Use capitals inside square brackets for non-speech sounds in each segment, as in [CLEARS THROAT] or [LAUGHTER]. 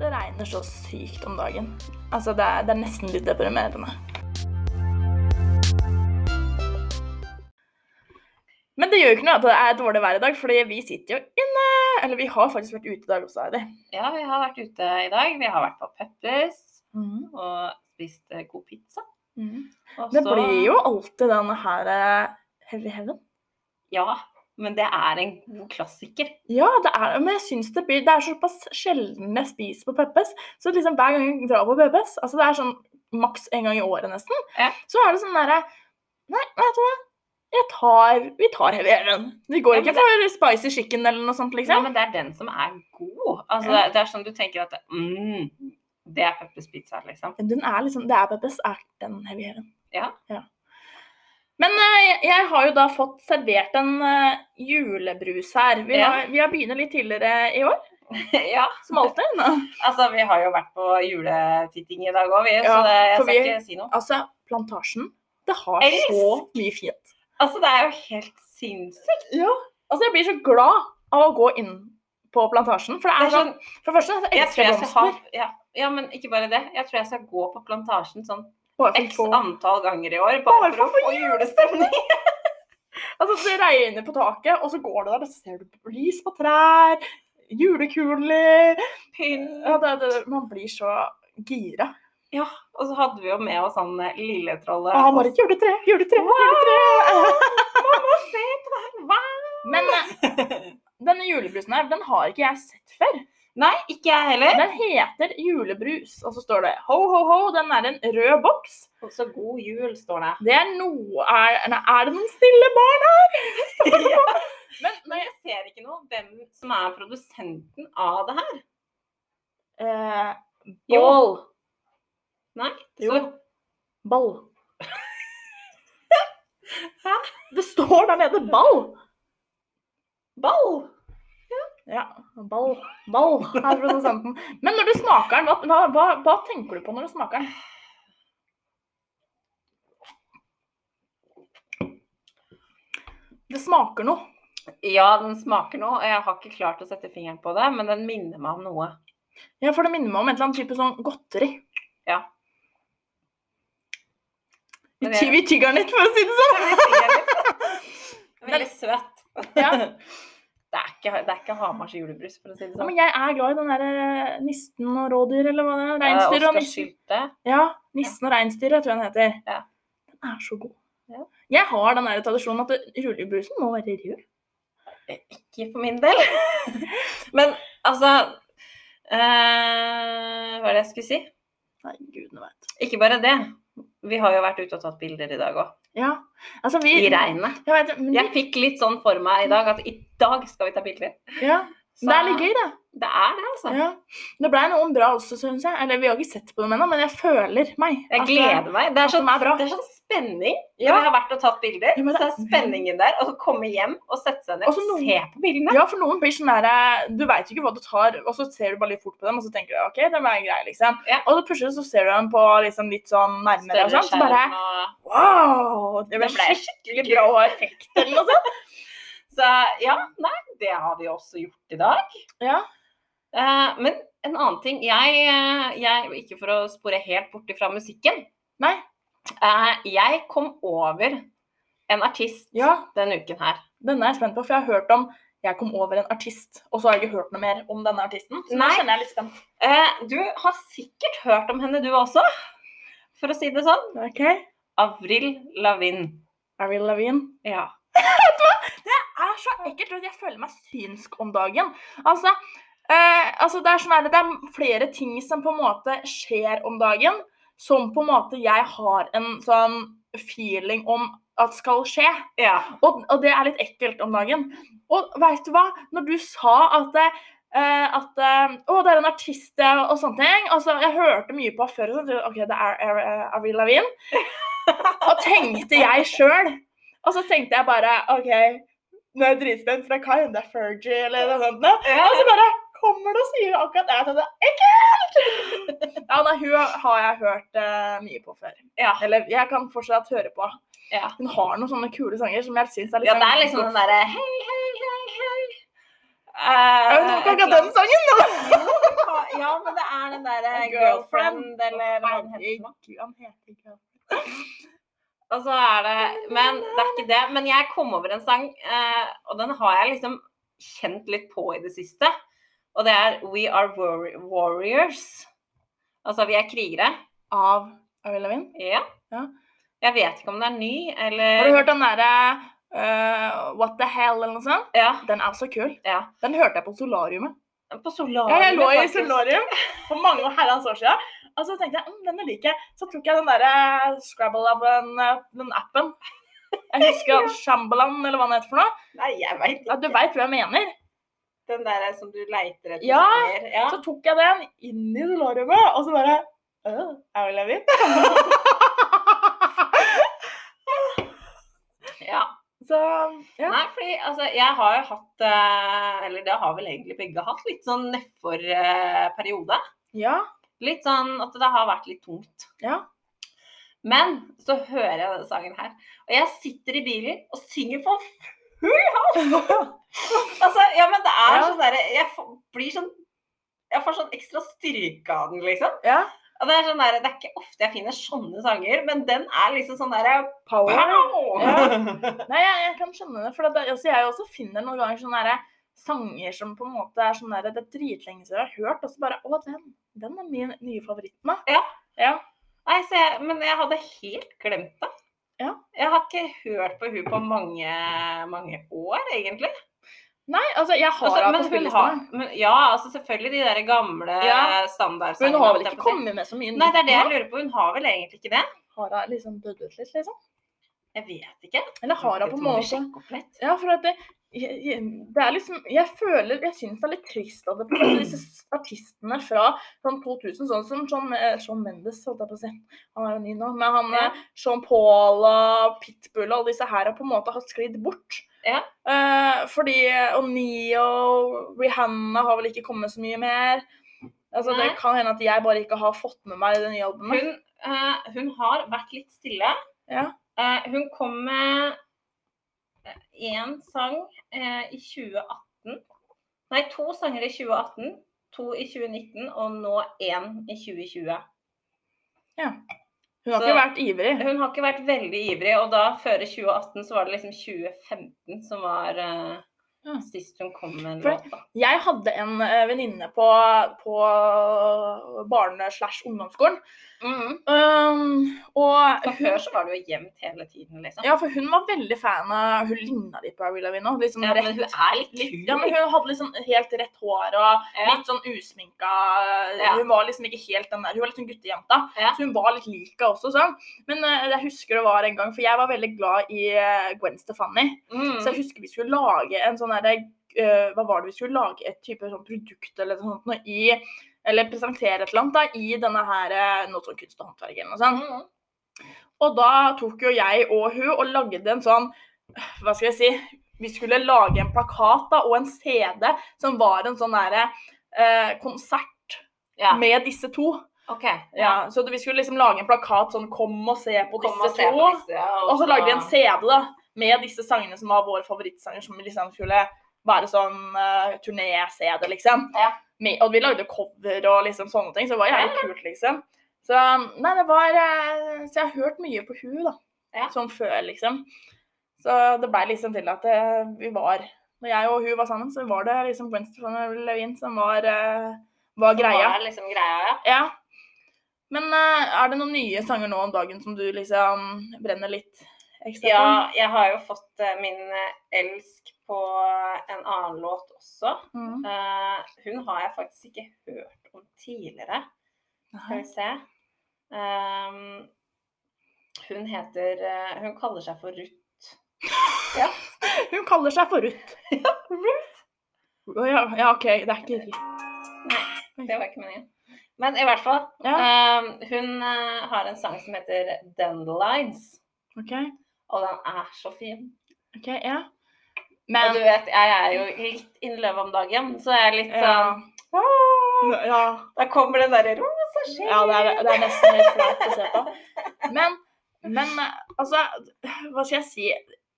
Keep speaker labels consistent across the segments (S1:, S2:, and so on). S1: Det regner så sykt om dagen. Altså, det er, det er nesten litt deprimerende. Men det gjør jo ikke noe at det er dårlig vær i dag, fordi vi sitter jo inne. Eller vi har faktisk vært ute i dag også, Heidi.
S2: Ja, vi har vært ute i dag. Vi har vært på Peppers og spist eh, god pizza. Og
S1: Det
S2: så-
S1: blir jo alltid denne her eh, Heavy Heaven.
S2: Ja, men det er en god klassiker.
S1: Ja, det er, men jeg synes det blir Det er såpass sjelden jeg spiser på Peppes. Så liksom hver gang jeg drar på Peppes, altså det er sånn maks en gang i året nesten,
S2: Ja.
S1: så er det sånn derre Nei, vet du hva. Jeg tar, vi tar Heavy Heaven. Vi går
S2: Ja, men
S1: ikke for spicy chicken eller noe sånt,
S2: Nei,
S1: liksom.
S2: men det er den som er god. Altså,
S1: Ja.
S2: det, er- det er sånn du tenker at mm, det er Peppers pizza, [LAUGHS] liksom.
S1: Den er liksom, det er Peppes, er den Heavy Heaven.
S2: Ja.
S1: Men eh, jeg har jo da fått servert en eh, julebrus her. Vi
S2: Ja.
S1: har, vi har begynt litt tidligere i år,
S2: ja,
S1: som alltid. nå.
S2: altså vi har jo vært på juletitting i dag òg, vi, så
S1: Ja,
S2: det, jeg
S1: for
S2: skal
S1: vi-
S2: ikke si noe.
S1: Altså, Plantasjen, det har
S2: Jeg
S1: så mye fint.
S2: Altså, det er jo helt sinnssykt.
S1: Altså, jeg blir så glad av å gå inn på Plantasjen, for det
S2: Det
S1: er,
S2: er sånn,
S1: sånn For det første, så
S2: jeg tror
S1: elsker jeg
S2: jeg skal
S1: blomster.
S2: ha ja, ja, men ikke bare det. Jeg tror jeg skal gå på Plantasjen sånn
S1: Bare
S2: x
S1: for å få-
S2: antall ganger i år, bare for å få julestemning.
S1: Altså, det regner på taket, og så går du der, og så ser du lys på trær, julekuler
S2: Pynt.
S1: ja, det, det, Man blir så gira.
S2: Ja, og så hadde vi jo med oss han eh, lilletrollet.
S1: Ah, Marit, juletre, juletre, juletre!
S2: Mamma, se på det her!
S1: Men eh,
S2: Hva?
S1: denne julebrusen her, den har ikke jeg sett før.
S2: Nei, ikke jeg heller.
S1: Den heter julebrus, og så står det ho, ho, ho. Den er en rød boks.
S2: Så god jul, står [LAUGHS] det.
S1: Det er noe Er, nei, er det noen stille barn her?
S2: Ja.
S1: Men, men
S2: Men jeg ser ikke noe hvem som er produsenten av det her.
S1: eh,
S2: Jo.
S1: Bål.
S2: Nei, det
S1: Jo.
S2: står
S1: [LAUGHS] Ball.
S2: Hæ?
S1: Det står der nede ball.
S2: ball.
S1: Ja, ball. Ball er produsenten. Men når du smaker den, hva, hva- hva, hva tenker du på når du smaker den? Det smaker noe.
S2: Ja, den smaker noe, og jeg har ikke klart å sette fingeren på det, men den minner meg om noe.
S1: Ja, for det minner meg om et eller annet type sånn godteri.
S2: Ja.
S1: Vi
S2: Men
S1: ty-
S2: jeg-
S1: vi tygger den litt, for å si det sånn.
S2: Veldig søt.
S1: Ja.
S2: [LAUGHS] Det er ikke, det er ikke Hamars julebrus, for å si
S1: [LAUGHS]
S2: det
S1: Ja,
S2: sånn.
S1: men jeg er glad i den der eh, nissen og rådyr, eller hva det er. Reinsdyr og
S2: Oskar
S1: nissen.
S2: Eh, Sylte.
S1: Ja, nissen og reinsdyret, tror jeg den heter.
S2: Ja.
S1: Den er så god.
S2: Ja.
S1: Jeg har den der tradisjonen at det- julebrusen må være rød.
S2: Ikke for min del. [LAUGHS] Men altså eh, Hva er det jeg skulle si?
S1: Nei, gudene vet.
S2: Ikke bare det. Vi har jo vært ute og tatt bilder i dag òg.
S1: Ja, altså vi...
S2: I regnet.
S1: Jeg vet, men
S2: Jeg fikk litt sånn for meg i dag at i dag skal vi ta bilder.
S1: ja,
S2: Så
S1: det er litt gøy, det.
S2: Det er det, altså.
S1: Ja. Det blei noen bra også, syns jeg. Eller vi har ikke sett på dem ennå, men jeg føler meg.
S2: Jeg
S1: at det-
S2: gleder meg. Det er
S1: at
S2: sånn,
S1: de er bra.
S2: det er sånn spenning.
S1: Ja.
S2: Vi har vært og tatt bilder,
S1: Ja, men
S2: så
S1: det-
S2: er spenningen der. Og så komme hjem og sette seg ned
S1: Og
S2: og
S1: så noen-
S2: se på bildene.
S1: Ja, for noen blir sånn der Du veit jo ikke hva du tar, og så ser du bare litt fort på dem, og så tenker du OK, de er greie, liksom.
S2: Ja.
S1: Og så plutselig så ser du dem på liksom litt sånn nærmere, og sånn, så
S2: skjerm
S1: bare
S2: og-
S1: Wow! Det
S2: Det
S1: ble
S2: ble
S1: skikkelig
S2: skikkelig
S1: bra
S2: bra.
S1: effekt, eller noe sånt. [LAUGHS]
S2: Så ja, nei, det har vi også gjort i dag.
S1: Ja.
S2: Eh, men en annen ting jeg, eh, jeg Ikke for å spore helt bort ifra musikken.
S1: Nei.
S2: Eh, jeg kom over en artist
S1: Ja,
S2: denne uken her.
S1: denne er jeg spent på, for jeg har hørt om jeg kom over en artist, og så har jeg ikke hørt noe mer om denne artisten. Så nå
S2: Nei.
S1: kjenner jeg litt spent.
S2: Eh, du har sikkert hørt om henne, du også. For å si det sånn.
S1: OK.
S2: Avril Lavigne.
S1: Avril Lavigne.
S2: Ja.
S1: Det er så ekkelt, og jeg føler meg synsk om dagen. Altså, eh, altså det, er sånn her, det er flere ting som på en måte skjer om dagen, som på en måte jeg har en sånn feeling om at skal skje.
S2: ja.
S1: Og, og det er litt ekkelt om dagen. Og veit du hva? Når du sa at eh, at eh, Å, det er en artist ja, og sånne ting. Altså, jeg hørte mye på henne før. og sånn, tenkte jeg, OK, det er eh, Avril Lavigne. Og tenkte jeg sjøl. Og så tenkte jeg bare OK, nå er jeg dritspent, for det kan hende det er Fergie eller noe sånt. nå. Og så bare kommer du og sier akkurat det. Jeg tenkte, [LAUGHS] ekkelt! Ja, nei, hun har jeg hørt eh, mye på før.
S2: Ja.
S1: Eller jeg kan fortsatt høre på.
S2: Ja.
S1: Hun har noen sånne kule sanger som jeg syns er litt
S2: ja, det
S1: sånn
S2: er liksom den
S1: goth.
S2: derre hei, Eh, hei, hei, hei.
S1: Ja, men det var ikke akkurat den sangen!
S2: Jo, det var- Ja, men det er den derre
S1: eh, Girlfriend.
S2: girlfriend, eller hva den heter. for noe.
S1: Herregud, han heter ikke
S2: Og så er det Men det er ikke det. Men jeg kom over en sang, eh, og den har jeg liksom kjent litt på i det siste. Og det er We Are Warri- Warriors. Altså vi er krigere.
S1: Av Avril Lavigne.
S2: Ja.
S1: Ja.
S2: Jeg vet ikke om den er ny, eller
S1: Har du hørt den derre eh, What the hell, eller noe sånt?
S2: Ja.
S1: Den er så kul.
S2: Ja.
S1: Den hørte jeg på solariumet.
S2: På solarium.
S1: Ja, jeg lå i
S2: faktisk.
S1: solarium for mange herrens år siden. Og så tenkte jeg mm, denne liker jeg. Så tok jeg den derre Scrabble-appen, eh, den appen. Jeg husker Shambalan, eller hva den heter for noe.
S2: Nei, jeg veit ikke.
S1: Ja, du veit hva jeg mener.
S2: Den derre som du leiter etter
S1: Ja.
S2: sanger. Ja.
S1: Så tok jeg den inn i solariumet, og så bare øh, Er vel jeg vidt? [LAUGHS]
S2: ja.
S1: Så ja.
S2: Nei, fordi altså, jeg har jo hatt eh, Eller det har vel egentlig begge hatt, litt sånn nedfor-periode.
S1: ja. [LAUGHS]
S2: Litt sånn at det har vært litt tungt.
S1: Ja.
S2: Men så hører jeg denne sangen her, og jeg sitter i bilen og synger for full hals! altså, ja, men det er
S1: Ja.
S2: sånn derre Jeg får- blir sånn Jeg får sånn ekstra styrke av den, liksom.
S1: ja.
S2: Og det er sånn derre Det er ikke ofte jeg finner sånne sanger, men den er liksom sånn derre
S1: Power.
S2: pow!
S1: Nei, jeg, jeg kan skjønne det. For at det, altså, jeg også finner noen ganger sånne derre sanger som på en måte er sånn derre Det er dritlenge siden jeg har hørt, og så bare Å, den. Den er min nye favoritt nå.
S2: Nei, så jeg, men jeg hadde helt glemt det.
S1: Ja.
S2: Jeg har ikke hørt på hun på mange, mange år, egentlig.
S1: Nei, altså, jeg har
S2: Altså,
S1: henne på
S2: men hun har,
S1: spillelistene.
S2: men, ja, altså selvfølgelig de der gamle
S1: Ja.
S2: standardsangene.
S1: Hun har vel
S2: holdt jeg
S1: ikke
S2: på å si.
S1: kommet med så mye
S2: Nei, det er det jeg
S1: nå?
S2: lurer på. Hun har vel egentlig ikke det?
S1: Har hun liksom dødd ut litt, liksom?
S2: Jeg vet ikke.
S1: Eller har hun på en
S2: Må vi
S1: måte
S2: sjekke opp litt?
S1: Ja, for at det, jeg, jeg- det er liksom Jeg føler Jeg syns det er litt trist at det, på en måte disse artistene fra sånn 2000, sånn som John, eh, Shawn Mendes, holdt jeg på å si. Han er jo ny nå. Men han
S2: Ja.
S1: eh, Sean Paul og Pitbull og alle disse her har på en måte har sklidd bort.
S2: Ja.
S1: Eh, fordi Og Neo, Rihanna har vel ikke kommet så mye mer. Altså,
S2: Nei.
S1: det kan hende at jeg bare ikke har fått med meg det nye albumet.
S2: Hun, eh, hun har vært litt stille.
S1: Ja.
S2: Eh, hun kom med én sang eh, i 2018. Nei, to sanger i 2018. To i 2019, og nå én i 2020.
S1: Hun har
S2: så-
S1: ikke vært ivrig.
S2: Hun har ikke vært veldig ivrig, og da før i 2018 så var det liksom 2015 som var eh,
S1: Ja.
S2: sist hun kom med en
S1: For-
S2: låt. da.
S1: Jeg hadde en eh, venninne på, på barne-slash-ungdomsskolen. Um, og
S2: Mm, For før så var det jo jevnt hele tiden, liksom.
S1: ja, for hun var veldig fan av Hun ligna litt på Avril Lavigne. også, Liksom
S2: Ja, men
S1: rett-
S2: hun er litt
S1: litt,
S2: kul.
S1: ja, men hun hadde liksom helt rett hår og
S2: Ja.
S1: litt sånn usminka.
S2: Ja.
S1: Hun var liksom ikke helt den der. Hun var litt sånn guttejenta.
S2: Ja.
S1: Så hun var litt lika også, sånn. Men eh, jeg husker det var en gang, for jeg var veldig glad i eh, Gwen Stefani.
S2: Mm.
S1: Så jeg husker vi skulle lage en sånn derre øh, Hva var det vi skulle lage? Et type sånn produkt eller noe sånt noe i Eller presentere et eller annet da, i denne her øh, noe sånn kunst og håndverk eller noe sånt.
S2: Mm.
S1: Og da tok jo jeg og hun og lagde en sånn Hva skal jeg si? Vi skulle lage en plakat da, og en CD som var en sånn derre øh, konsert
S2: Ja.
S1: med disse to.
S2: OK.
S1: Ja, så vi skulle liksom lage en plakat sånn 'Kom og se på
S2: Kom
S1: disse
S2: og se
S1: to'.
S2: på disse. ja,
S1: Og så lagde vi en CD da, med disse sangene som var våre favorittsanger, som vi liksom skulle være sånn eh, turné-CD, liksom.
S2: Ja.
S1: Med, og vi lagde cover og liksom sånne ting, så det var jævlig kult, liksom. Så, nei, det var, eh, så jeg har hørt mye på hun, da.
S2: Ja.
S1: Sånn før, liksom. Så det ble liksom til at eh, vi var Når jeg og hun var sammen, så var det liksom Gwen Stefani Levin som var, eh, var greia.
S2: Var liksom greia, ja.
S1: Ja. Men eh, er det noen nye sanger nå om dagen som du liksom brenner litt ekstra
S2: Ja,
S1: for?
S2: jeg har jo fått eh, min eh, elsk på eh, en annen låt også.
S1: Mm.
S2: Eh, hun har jeg faktisk ikke hørt om tidligere. Skal vi se. Ehm, hun heter eh, Hun kaller seg for Ruth.
S1: Hun kaller seg for
S2: [LAUGHS]
S1: Ruth. Å ja, ja, OK. Det er ikke Ruth.
S2: Nei, det var ikke meningen. Men i hvert fall.
S1: Ja,
S2: ehm, hun eh, har en sang som heter 'Dandelions'.
S1: OK.
S2: Og den er så fin.
S1: ok, ja.
S2: Og
S1: Men
S2: du vet, jeg er jo litt in love om dagen, så jeg er litt
S1: ja.
S2: sånn «Ah!»
S1: ja.
S2: Da kommer den derre rosa skinn.
S1: Ja, det er, det er nesten litt flaut å se på. Men, men eh, altså, hva skal jeg si?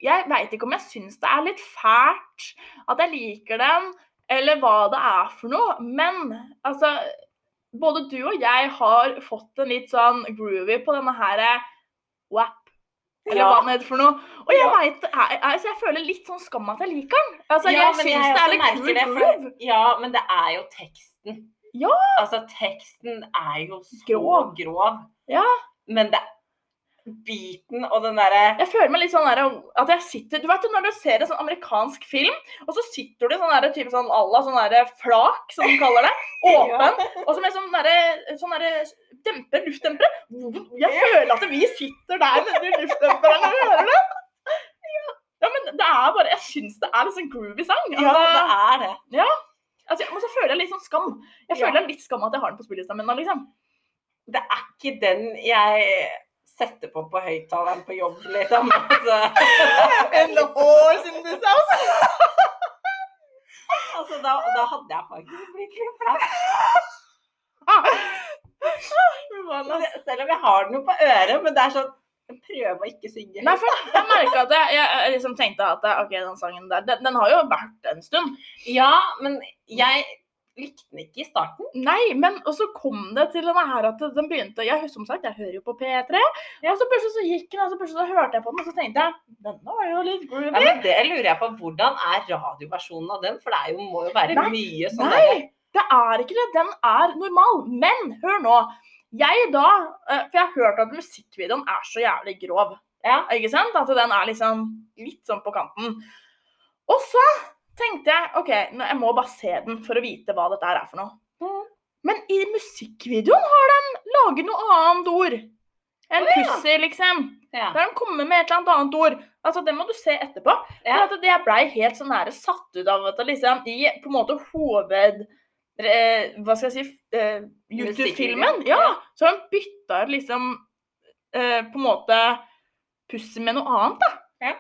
S1: Jeg veit ikke om jeg syns det er litt fælt at jeg liker den, eller hva det er for noe, men altså både du og jeg har fått en litt sånn groovy på denne her eh, WAP, eller
S2: Ja.
S1: hva den heter for noe. Og jeg
S2: Ja.
S1: vet, jeg, altså jeg føler litt sånn skam at jeg liker den. Altså,
S2: Ja,
S1: jeg
S2: men
S1: syns
S2: jeg
S1: det
S2: også
S1: er litt
S2: merker
S1: kul
S2: det, for-
S1: groove.
S2: Ja, men det er jo teksten.
S1: Ja.
S2: Altså, teksten er jo så grov.
S1: Grov. Ja.
S2: Men det beaten og den derre
S1: Jeg føler meg litt sånn der, at jeg sitter Du vet jo når du ser en sånn amerikansk film, og så sitter du i sånn der type sånn à la sånn der flak, som de kaller det.
S2: [LAUGHS]
S1: Åpen.
S2: altså,
S1: Og så med sånn derre sånn derre demper, luftdempere. Jeg føler at vi sitter der nede i luftdemperen og hører det. Ja, men det er bare Jeg syns det er litt sånn groovy sang.
S2: Ja, det
S1: Altså,
S2: er det.
S1: altså, men så føler jeg litt sånn skam. Jeg
S2: Ja.
S1: føler litt skam at jeg har den på spillelista mi nå, liksom.
S2: Det er ikke den jeg setter på på høyttaleren på jobb, liksom. [LAUGHS] Altså,
S1: And the horse in this house.
S2: altså da, da hadde jeg faktisk blitt litt flau.
S1: Ah, Nei,
S2: Selv om jeg har den jo på øret, men det er sånn jeg prøver å ikke synge. høyt.
S1: for jeg merket at jeg, jeg, jeg liksom tenkte at ok, den sangen der, den, den har jo vært en stund.
S2: Ja, men jeg likte den ikke i starten.
S1: Nei, men og så kom det til denne her at den begynte jeg, Som sagt, jeg hører jo på P3. Og så plutselig så gikk den, og så plutselig så hørte jeg på den, og så tenkte jeg denne var jo litt
S2: Nei,
S1: groovy.
S2: men det lurer jeg på. Hvordan er radioversjonen av den? For det er jo, må jo være
S1: Nei,
S2: mye sånn
S1: Nei, det er ikke det. Den er normal. Men hør nå. Jeg da eh, For jeg har hørt at musikkvideoen er så jævlig grov.
S2: Ja.
S1: Ikke sant? At den er liksom litt sånn på kanten. Og så tenkte jeg OK, nå- jeg må bare se den for å vite hva dette her er for noe.
S2: Mhm.
S1: Men i musikkvideoen har de laget noe annet ord. En
S2: Å, ja.
S1: pussy, liksom.
S2: Ja.
S1: Der de kommer med et eller annet annet ord. Altså, Det må du se etterpå.
S2: Ja.
S1: For at jeg blei helt sånn nære satt ut av at det liksom i på en måte hoved... Eh, hva skal jeg si eh, YouTube-filmen.
S2: Musikkvideoen,
S1: Ja,
S2: ja.
S1: Så han bytta liksom eh, på en måte pussy med noe annet, da.
S2: Ja.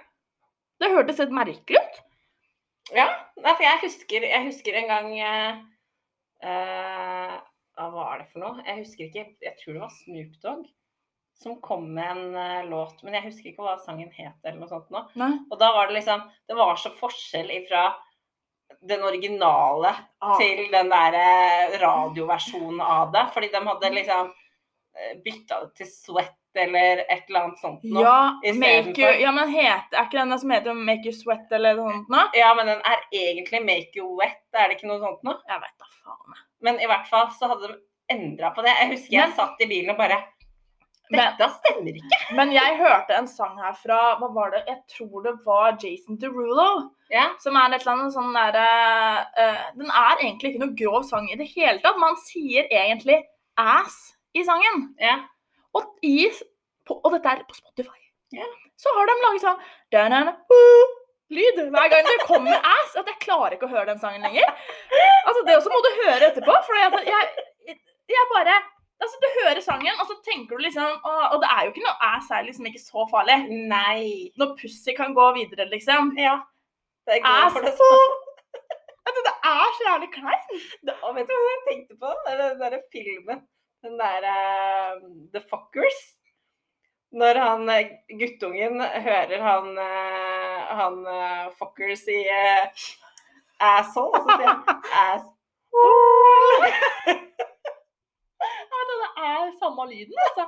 S1: Det hørtes helt merkelig ut.
S2: Nei, for jeg husker, jeg husker en gang eh, eh, Hva var det for noe? Jeg husker ikke. Jeg tror det var Snoop Dogg som kom med en eh, låt. Men jeg husker ikke hva sangen het eller noe sånt nå.
S1: Nei.
S2: Og da var det liksom Det var så forskjell ifra den originale
S1: Ah,
S2: til den der eh, radioversjonen av det. Fordi de hadde liksom eh, bytta det til Sweat eller et eller annet sånt noe.
S1: Ja,
S2: istedenfor.
S1: make you, ja, men heter, er ikke den der som heter 'Make you sweat' eller noe sånt? Nå?
S2: Ja, men den er egentlig Make You Wet, er det ikke noe sånt noe?
S1: Jeg vet da faen. jeg.
S2: Men i hvert fall så hadde de endra på det. Jeg husker jeg
S1: Men-
S2: satt i bilen og bare
S1: Men-
S2: Dette stemmer ikke.
S1: Men jeg hørte en sang her fra Hva var det? Jeg tror det var Jason Derulo.
S2: Ja.
S1: Som er et eller annet sånn der eh, Den er egentlig ikke noe grov sang i det hele tatt. Man sier egentlig ass i sangen.
S2: ja.
S1: Og, i, på, og dette er på Spotify.
S2: Ja.
S1: Så har de laget sånn da-na-na, uh, lyd hver gang det kommer ass. At jeg klarer ikke å høre den sangen lenger. Altså Det også må du høre etterpå. For jeg, jeg, jeg bare Altså Du hører sangen, og så tenker du liksom «Åh», Og det er jo ikke noe ass er liksom ikke så farlig.
S2: Nei.
S1: Når pussy kan gå videre, liksom.
S2: Ja. Det er
S1: Ass.
S2: godt for det sånn.
S1: Altså, det er så jævlig kleint.
S2: Og vet du hva jeg tenkte på? Det er Den derre filmen. Den derre The Fuckers. Når han eh, guttungen hører han, eh, han eh, Fuckers i eh, Asshole, så sier han ass.
S1: Ja, men det er samme lyden, altså.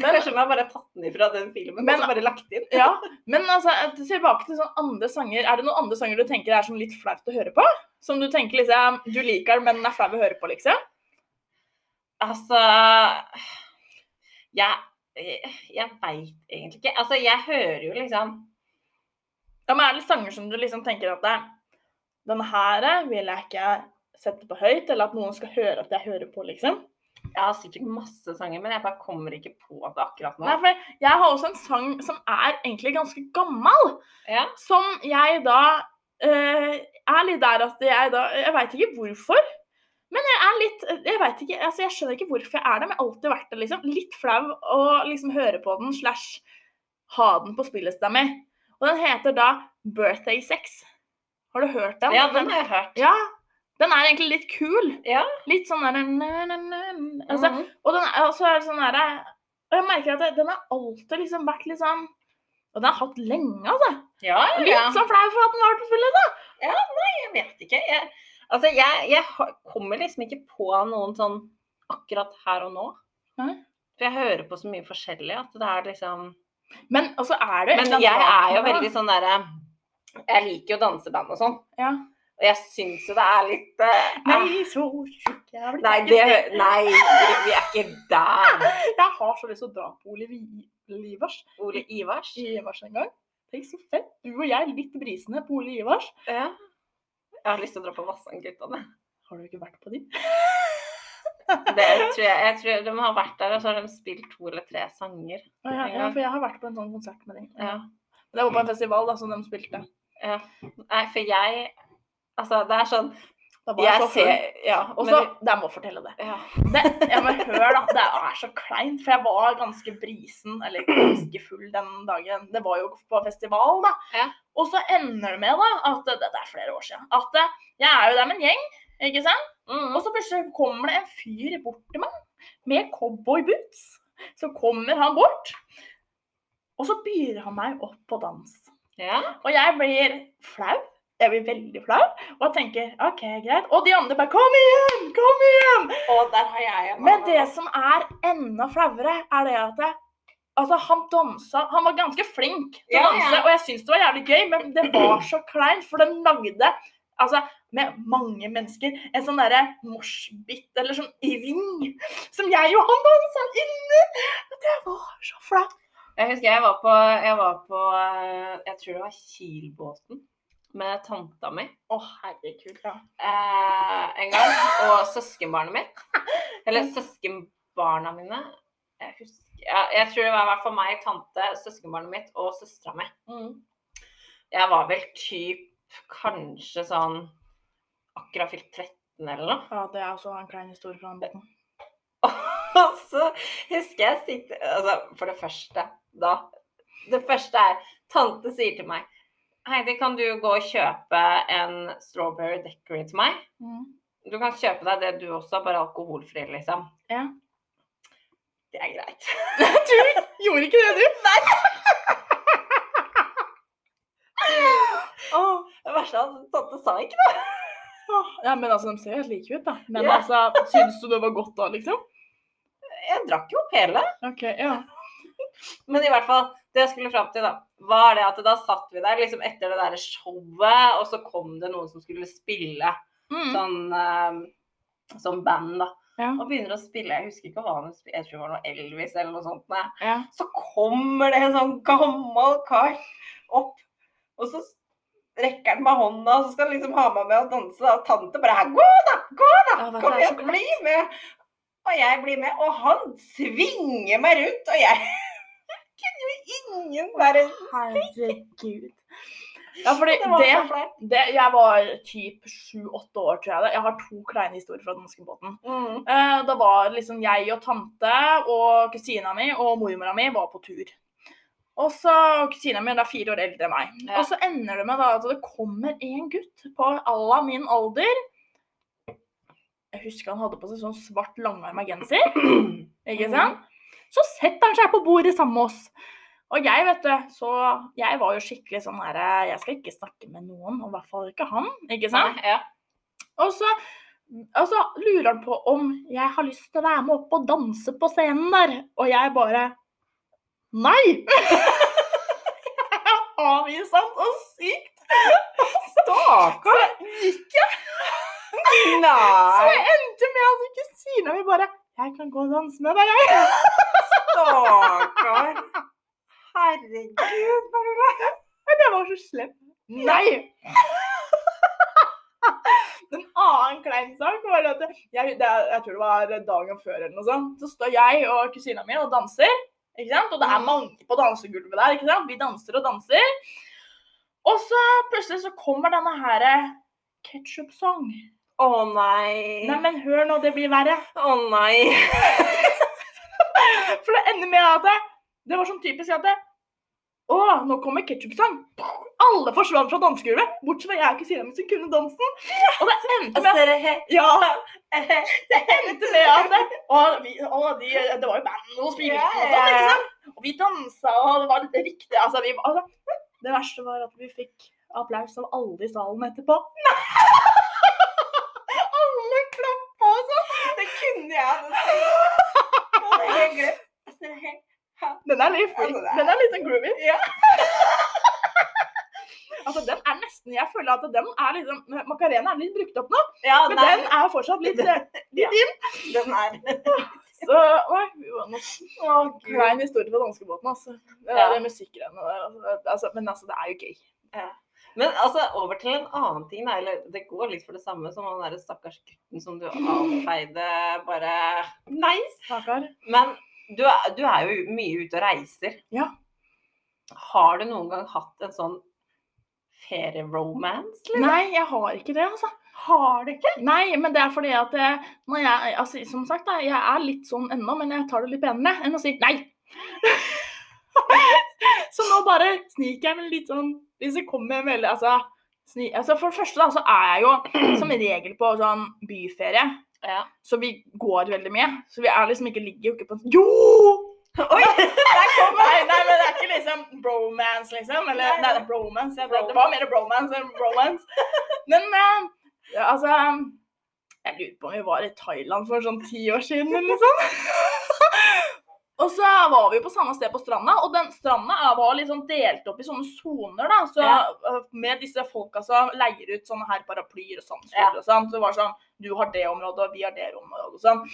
S2: Kanskje man bare har tatt den ifra den filmen
S1: Men-
S2: og så bare lagt inn.
S1: Ja, men altså, tilbake til sånne andre sanger. Er det noen andre sanger du tenker er sånn litt flaut å høre på? Som du tenker liksom, du liker den, men den er flau å høre på, liksom?
S2: Altså Jeg, jeg veit egentlig ikke. Altså, jeg hører jo liksom
S1: Ja, men er det sanger som du liksom tenker at det, den her eh, vil jeg ikke sette på høyt, eller at noen skal høre at jeg hører på, liksom?
S2: Jeg har sikkert masse sanger, men jeg bare kommer ikke på det akkurat nå.
S1: Nei, for jeg har også en sang som er egentlig ganske gammel.
S2: Ja.
S1: Som jeg da eh, er litt der at jeg da Jeg veit ikke hvorfor. Men jeg er litt Jeg vet ikke, altså jeg skjønner ikke hvorfor jeg er det, men jeg har alltid vært det. liksom Litt flau å liksom høre på den slash ha den på spillelista mi. Og den heter da Birthday Sex. Har du hørt den?
S2: Ja, den har jeg hørt.
S1: ja, den er egentlig litt kul.
S2: Ja.
S1: Litt sånn der na, na, na, na. Altså,
S2: Mhm.
S1: og den er, og så er det sånn der, og jeg merker at det- den har alltid liksom vært litt sånn Og den har hatt lenge, altså.
S2: ja, ja,
S1: Litt
S2: ja.
S1: sånn flau for at den var til fulle.
S2: Jeg vet ikke. Jeg, Altså, jeg, jeg har- kommer liksom ikke på noen sånn akkurat her og nå.
S1: Nei.
S2: For jeg hører på så mye forskjellig at det er liksom
S1: Men altså, er det et eller
S2: Men
S1: annet
S2: jeg
S1: bak
S2: er jo
S1: med det,
S2: veldig sånn derre Jeg liker jo danseband og sånn.
S1: da? ja.
S2: Og jeg syns jo det er litt eh, ah,
S1: Nei, så tjukk jeg har blitt.
S2: Nei, det, nei, vi er ikke der.
S1: Jeg har så lyst til å dra på Ole Vi- Livers
S2: Ole Ivars.
S1: Ivars en gang. Tenk så fett. Du og jeg litt brisende på Ole Ivars.
S2: Ja. Jeg har lyst til å dra på Vassandguttene.
S1: Har du ikke vært på de?
S2: Det tror jeg, jeg tror de har vært der, og så har de spilt to eller tre sanger.
S1: Ja, ja, ja, for jeg har vært på en sånn konsert med dem.
S2: Ja.
S1: Det var på
S2: Mm.
S1: en festival da, som de spilte.
S2: Nei, for jeg Altså, det er sånn
S1: Da var jeg
S2: Jeg
S1: så full.
S2: ser Ja.
S1: Og
S2: men
S1: så,
S2: vi-
S1: jeg må fortelle det.
S2: ja.
S1: det jeg må høre da, det er så kleint, for jeg var ganske brisen, eller ganske full den dagen. Det var jo på festival da.
S2: Ja.
S1: Og så ender det med da, at det, dette er flere år siden, at eh, jeg er jo der med en gjeng, ikke sant? Og
S2: Mm.
S1: så plutselig kommer det en fyr bort til meg med cowboyboots. Så kommer han bort, og så byr han meg opp på dans.
S2: ja.
S1: Og jeg blir flau. Jeg blir veldig flau. Og jeg tenker OK, greit. Og de andre bare Kom igjen! Kom igjen!
S2: Og der har jeg en
S1: Men det som er enda flauere, er det at jeg, Altså, han dansa Han var ganske flink til å
S2: Ja, ja.
S1: danse, og jeg syns det var jævlig gøy, men det var så kleint, for den lagde Altså, med mange mennesker. En sånn derre moshbit, eller sånn ring, som jeg og han dansa inni. Og Det var så flaut.
S2: Jeg husker jeg var på Jeg, var på, eh, jeg tror det var Kielbåten med tanta mi.
S1: Å, herregud, ja.
S2: eh, en gang. Og søskenbarnet mitt. Eller søskenbarna mine. Jeg husker ja, Jeg tror det var i hvert fall meg, tante, søskenbarnet mitt og søstera mi.
S1: Mm.
S2: Jeg var vel typ kanskje sånn akkurat fylt 13 eller noe.
S1: Ja, det er også en klein historie fra den båten.
S2: [LAUGHS] Og så husker jeg sitte Altså, for det første, da. Det første er Tante sier til meg Heidi, kan du gå og kjøpe en strawberry decory til meg?
S1: Mm.
S2: Du kan kjøpe deg det du også, bare alkoholfri, liksom.
S1: Ja.
S2: Det er greit.
S1: Gjorde ikke det, du? [LAUGHS] Nei.
S2: Det verste er sånn at tante sa ikke det.
S1: Ja, men altså, de ser jo helt like ut, da. Men
S2: Ja.
S1: altså, syns du det var godt da, liksom?
S2: Jeg drakk jo opp hele.
S1: Ok, ja.
S2: Men i hvert fall, det jeg skulle fram til, da, var det at da satt vi der liksom etter det derre showet, og så kom det noen som skulle spille
S1: Mm.
S2: sånn eh, sånn band, da.
S1: Ja.
S2: Og begynner å spille, jeg husker ikke hva han spilte, jeg tror det var noe Elvis eller noe sånt. Nei.
S1: Ja.
S2: Så kommer det en sånn gammel kar opp, og så rekker han meg hånda, og så skal han liksom ha meg med og danse. da. Og tante bare her, 'Gå, da! Gå, da!
S1: Ja, vet du,
S2: Kom
S1: det er så
S2: igjen,
S1: kleint.
S2: bli med!' Og jeg blir med, og han svinger meg rundt, og jeg [LAUGHS] kunne jo ingen være
S1: Herregud. Ja, fordi
S2: Det var
S1: det,
S2: så flaut.
S1: det Jeg var typ sju-åtte år, tror jeg det. Jeg har to kleine historier fra den norske båten. [CLEARS THROAT]
S2: Mm.
S1: Eh, Da var liksom jeg og tante og kusina mi og mormora mi var på tur. Og så og Kusina mi er da fire år eldre enn meg.
S2: Ja.
S1: Og så ender det med da at det kommer en gutt på alla min alder. Jeg husker han hadde på seg sånn svart langarma genser. Ikke sant? Så setter han seg på bordet sammen med oss. Og jeg, vet du, så jeg var jo skikkelig sånn her Jeg skal ikke snakke med noen, og i hvert fall ikke han. Ikke sant?
S2: Nei, ja.
S1: Og så, og så lurer han på om jeg har lyst til å være med opp og danse på scenen der. Og jeg bare Nei! [LAUGHS] Avviste han så sykt.
S2: Stakkar!
S1: Så gikk jeg. Så
S2: [LAUGHS] Nei,
S1: jeg endte med at kusina mi bare Jeg kan gå og danse med deg, jeg.
S2: stakkar! Herregud, Carola.
S1: Men det var så slemt. Nei! [LAUGHS] En annen klein sak var at jeg, det, er- jeg tror det var dagen før eller noe sånt. Så står jeg og kusina mi og danser. Ikke sant? Og det er mange på dansegulvet der. ikke sant? Vi danser og danser. Og så plutselig så kommer denne her ketsjup-sang.
S2: Å nei.
S1: Nei, men hør nå, det blir verre.
S2: Å nei.
S1: For det ender med at det, det var sånn typisk at det, Å, nå kommer ketsjup-sang. Alle forsvant fra dansegulvet, bortsett fra jeg og kusina mi som kunne dansen. Og det endte med at Ja!
S2: [LAUGHS]
S1: Det endte med at [LAUGHS] det, og Altså, vi, og de, det var jo band og spilling og sånn, ikke sant? Og vi dansa, og det var litt riktig. Altså, vi, altså, det verste var at vi fikk applaus av [LAUGHS] alle i salen etterpå. er litt, freak-
S2: Altså, det er-
S1: den er litt sånn groovy. [LAUGHS] altså, den er nesten Jeg føler at den er liksom Macarena er litt brukt opp nå,
S2: Ja,
S1: men
S2: nei,
S1: den er fortsatt litt eh, [LAUGHS]
S2: Ja.
S1: litt inn.
S2: den er
S1: Så Oi, fy faen, ass. Å, Klein historie fra danskebåten, altså. Det
S2: Ja.
S1: er det musikkgreiene der. altså, det- Altså, men altså, det er jo gøy.
S2: Men altså, over til en annen ting, da. Eller det går litt for det samme som han derre stakkars gutten som du avfeide bare Nice!
S1: Stakkar.
S2: Men du er, du er jo mye ute og reiser.
S1: Ja.
S2: Har du noen gang hatt en sånn ferieromance, eller?
S1: Nei, jeg har ikke det, altså.
S2: Har du ikke?
S1: Nei, men det er fordi at eh, når jeg, altså, som sagt, da, jeg er litt sånn ennå, men jeg tar det litt penere enn å si nei. [LAUGHS] så nå bare sniker jeg meg litt sånn Hvis det kommer en veldig altså, sni, altså For det første da, så er jeg jo [CLEARS THROAT] som regel på sånn byferie,
S2: Ja.
S1: så vi går veldig mye. Så vi er liksom ikke, ligger jo ikke på en Jo!
S2: Oi! Der kom
S1: Nei,
S2: den!
S1: nei, men det er ikke liksom bromance, liksom. Eller
S2: Nei,
S1: nei, det
S2: nei.
S1: er bromance. Ja, det, det var mer bromance enn bromance. Men eh, ja, altså Jeg lurer på om vi var i Thailand for sånn ti år siden, eller noe sånt. Og så var vi jo på samme sted på stranda, og den stranda er- var liksom delt opp i sånne soner. da, så
S2: Ja.
S1: eh, Med disse folka som leier ut sånne her paraplyer og sandstoler
S2: Ja.
S1: og sånn. Så det var sånn Du har det området, og vi har det området og sånn.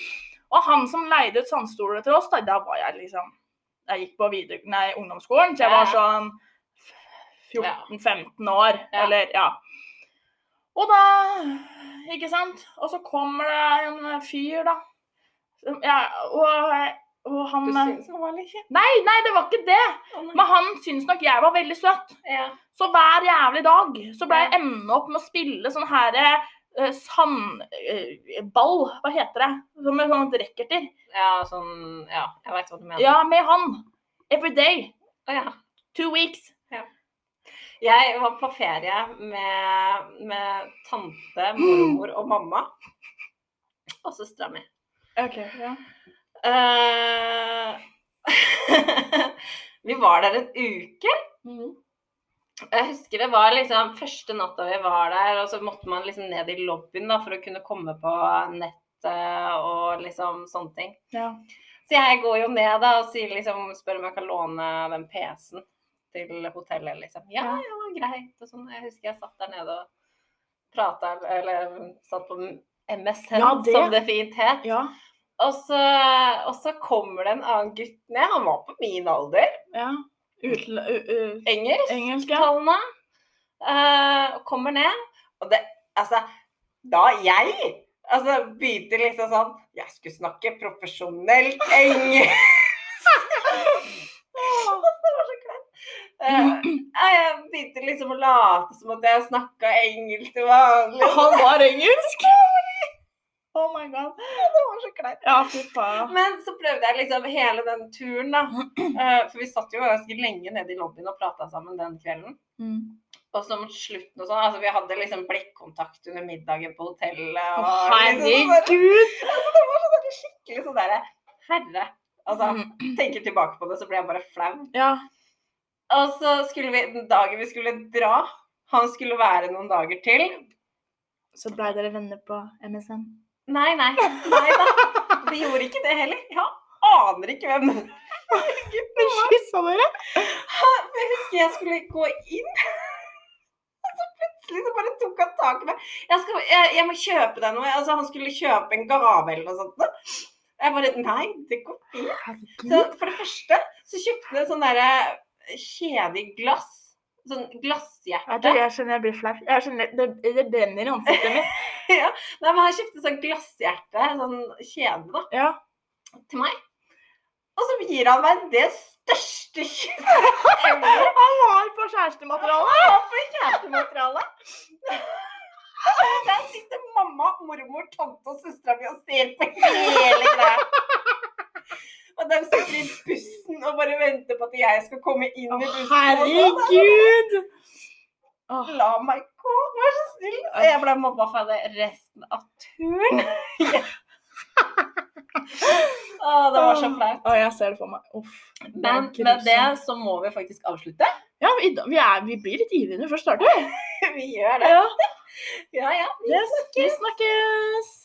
S1: Og han som leide ut sandstoler til oss, da, da var jeg liksom jeg gikk på videre, nei, ungdomsskolen, så jeg var
S2: Ja.
S1: sånn 14-15 år,
S2: Ja.
S1: eller ja. Og da, ikke sant, og så kommer det en fyr da, som- ja, og, og han...
S2: Du syns han var litt kjekk?
S1: Nei, nei, det var ikke det,
S2: Å, nei.
S1: men han synes nok jeg var veldig søtt.
S2: Ja.
S1: Så hver jævlig dag så ble
S2: Ja.
S1: jeg enda opp med å spille sånn her eh, sandball, hva heter det? Som med sånne rekkerter.
S2: ja, sånn Ja, jeg veit hva du mener.
S1: Ja, med han. Every day.
S2: Å, ja.
S1: Two weeks.
S2: Jeg var på ferie med, med tante, mormor og mamma. Og søstera mi.
S1: Ok, ja.
S2: Eh, [LAUGHS] vi var der en uke. Jeg husker det var liksom første natta vi var der, og så måtte man liksom ned i lobbyen da, for å kunne komme på nettet og liksom sånne ting.
S1: ja.
S2: Så jeg går jo ned da og sier liksom, spør om jeg kan låne den PC-en til hotellet. liksom. Ja,
S1: Ja.
S2: ja, greit. Og sånn. Jeg husker jeg satt der nede og prata, eller satt på MSN,
S1: Ja, det.
S2: som det fint het.
S1: Ja.
S2: Og, så, og så kommer det en annen gutt ned. Han var på min alder.
S1: ja. Utel... u- u-
S2: Engelsk,
S1: engelsk, ja.
S2: tallene. Eh, og kommer ned. Og det Altså, da jeg altså, begynte liksom sånn Jeg skulle snakke profesjonell engelsk. [LAUGHS] det var så kleint. Eh, jeg begynte liksom å late som at jeg snakka engelsk til vanlig.
S1: Han var engelsk! Oh my god.
S2: Det var så kleint.
S1: Ja, fy faen.
S2: Men så prøvde jeg liksom hele den turen, da. Eh, for vi satt jo ganske lenge nede i lobbyen og prata sammen den kvelden. Og så mot slutten og sånn, altså vi hadde liksom blikkontakt under middagen på hotellet.
S1: Å,
S2: Og liksom sånn der-
S1: herregud!
S2: [LAUGHS] altså, det var sånn der skikkelig sånn derre Herre. Altså, tenker tilbake på det, så blir jeg bare flau.
S1: Mm. Ja.
S2: Og så skulle vi, den dagen vi skulle dra, han skulle være noen dager til.
S1: Så blei dere venner på MSN.
S2: Nei, nei, nei da. Vi gjorde ikke det heller. Jeg aner ikke hvem den [LAUGHS] gutten var.
S1: Kyssa dere?
S2: For [LAUGHS] Jeg husker jeg skulle gå inn, [LAUGHS] og så plutselig så bare tok han tak i meg. Jeg, skal, jeg, jeg må kjøpe deg noe. Altså, han skulle kjøpe en gave eller noe sånt. da. Jeg bare Nei, det går fint. Så
S1: Herregud.
S2: for det første så kjøpte han en sånn derre kjede i glass. Sånn glasshjerte.
S1: Vet du, jeg skjønner jeg blir flau. Jeg skjønner- Det, det brenner i ansiktet
S2: [LAUGHS]
S1: mitt.
S2: Ja. Nei, men han kjøpte sånn glasshjerte, sånn kjede, da,
S1: Ja.
S2: til meg. Og så gir han meg det største kysset [LAUGHS] ever.
S1: Han var på kjærestemateriale!
S2: Og for kjærestemateriale. Der sitter mamma, mormor, tante og søstera mi og ser på hele greia. Og de sitter i bussen og bare venter på at jeg skal komme inn
S1: Å,
S2: i bussen.
S1: herregud! Å,
S2: La meg gå, vær så snill. Og jeg ble mobba for det resten av turen. Å, det var så flaut.
S1: Å, jeg ser det for meg. Uff. det er
S2: Men med
S1: grusomt.
S2: det så må vi faktisk avslutte. [LAUGHS]
S1: Ja, vi, vi, er, vi blir litt ivrige når vi først starter.
S2: Vi gjør det.
S1: Ja.
S2: Ja, ja.
S1: Yes, vi snakkes!